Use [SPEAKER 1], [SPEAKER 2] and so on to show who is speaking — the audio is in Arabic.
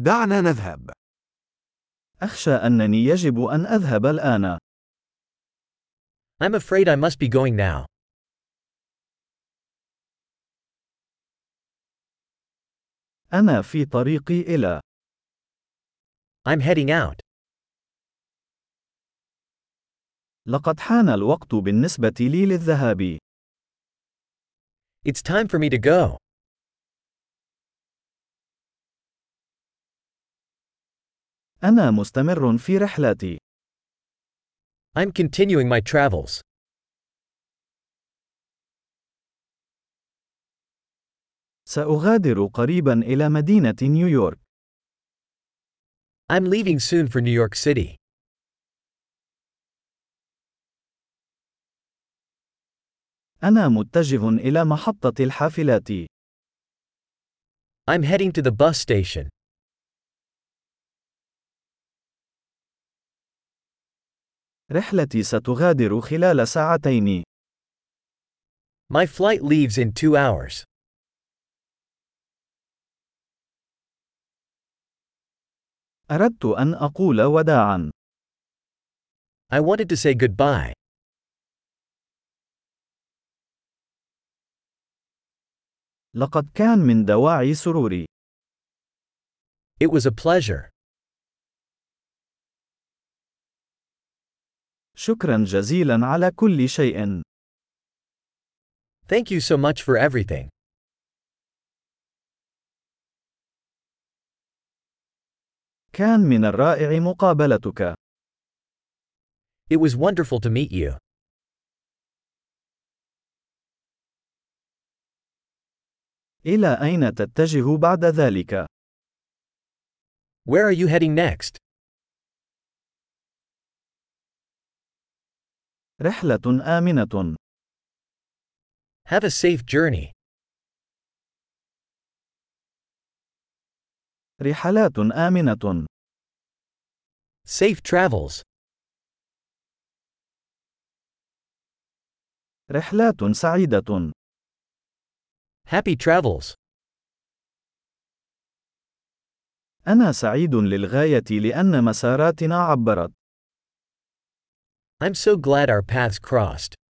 [SPEAKER 1] دعنا نذهب.
[SPEAKER 2] أخشى أنني يجب أن أذهب الآن.
[SPEAKER 3] I'm afraid I must be going now.
[SPEAKER 2] أنا في طريقي إلى.
[SPEAKER 3] I'm heading out.
[SPEAKER 2] لقد حان الوقت بالنسبة لي للذهاب.
[SPEAKER 3] It's time for me to go.
[SPEAKER 2] أنا مستمر في رحلتي.
[SPEAKER 3] I'm continuing my travels.
[SPEAKER 2] سأغادر قريبا إلى مدينة نيويورك.
[SPEAKER 3] I'm leaving soon for New York City.
[SPEAKER 2] أنا متجه إلى محطة الحافلات.
[SPEAKER 3] I'm heading to the bus station.
[SPEAKER 2] رحلتي ستغادر خلال ساعتين.
[SPEAKER 3] My flight leaves in two hours.
[SPEAKER 2] أردت أن أقول وداعاً.
[SPEAKER 3] I wanted to say goodbye.
[SPEAKER 2] لقد كان من دواعي سروري.
[SPEAKER 3] It was a pleasure.
[SPEAKER 2] شكراً جزيلاً على كل شيء.
[SPEAKER 3] Thank you so much for everything.
[SPEAKER 2] كان من الرائع مقابلتك.
[SPEAKER 3] It was wonderful to meet you.
[SPEAKER 2] إلى أين تتجه بعد ذلك؟
[SPEAKER 3] Where are you heading next?
[SPEAKER 2] رحلة آمنة.
[SPEAKER 3] Have a safe journey.
[SPEAKER 2] رحلات آمنة.
[SPEAKER 3] Safe travels.
[SPEAKER 2] رحلات سعيدة.
[SPEAKER 3] Happy travels.
[SPEAKER 2] أنا سعيد للغاية لأن مساراتنا عبرت.
[SPEAKER 3] I'm so glad our paths crossed.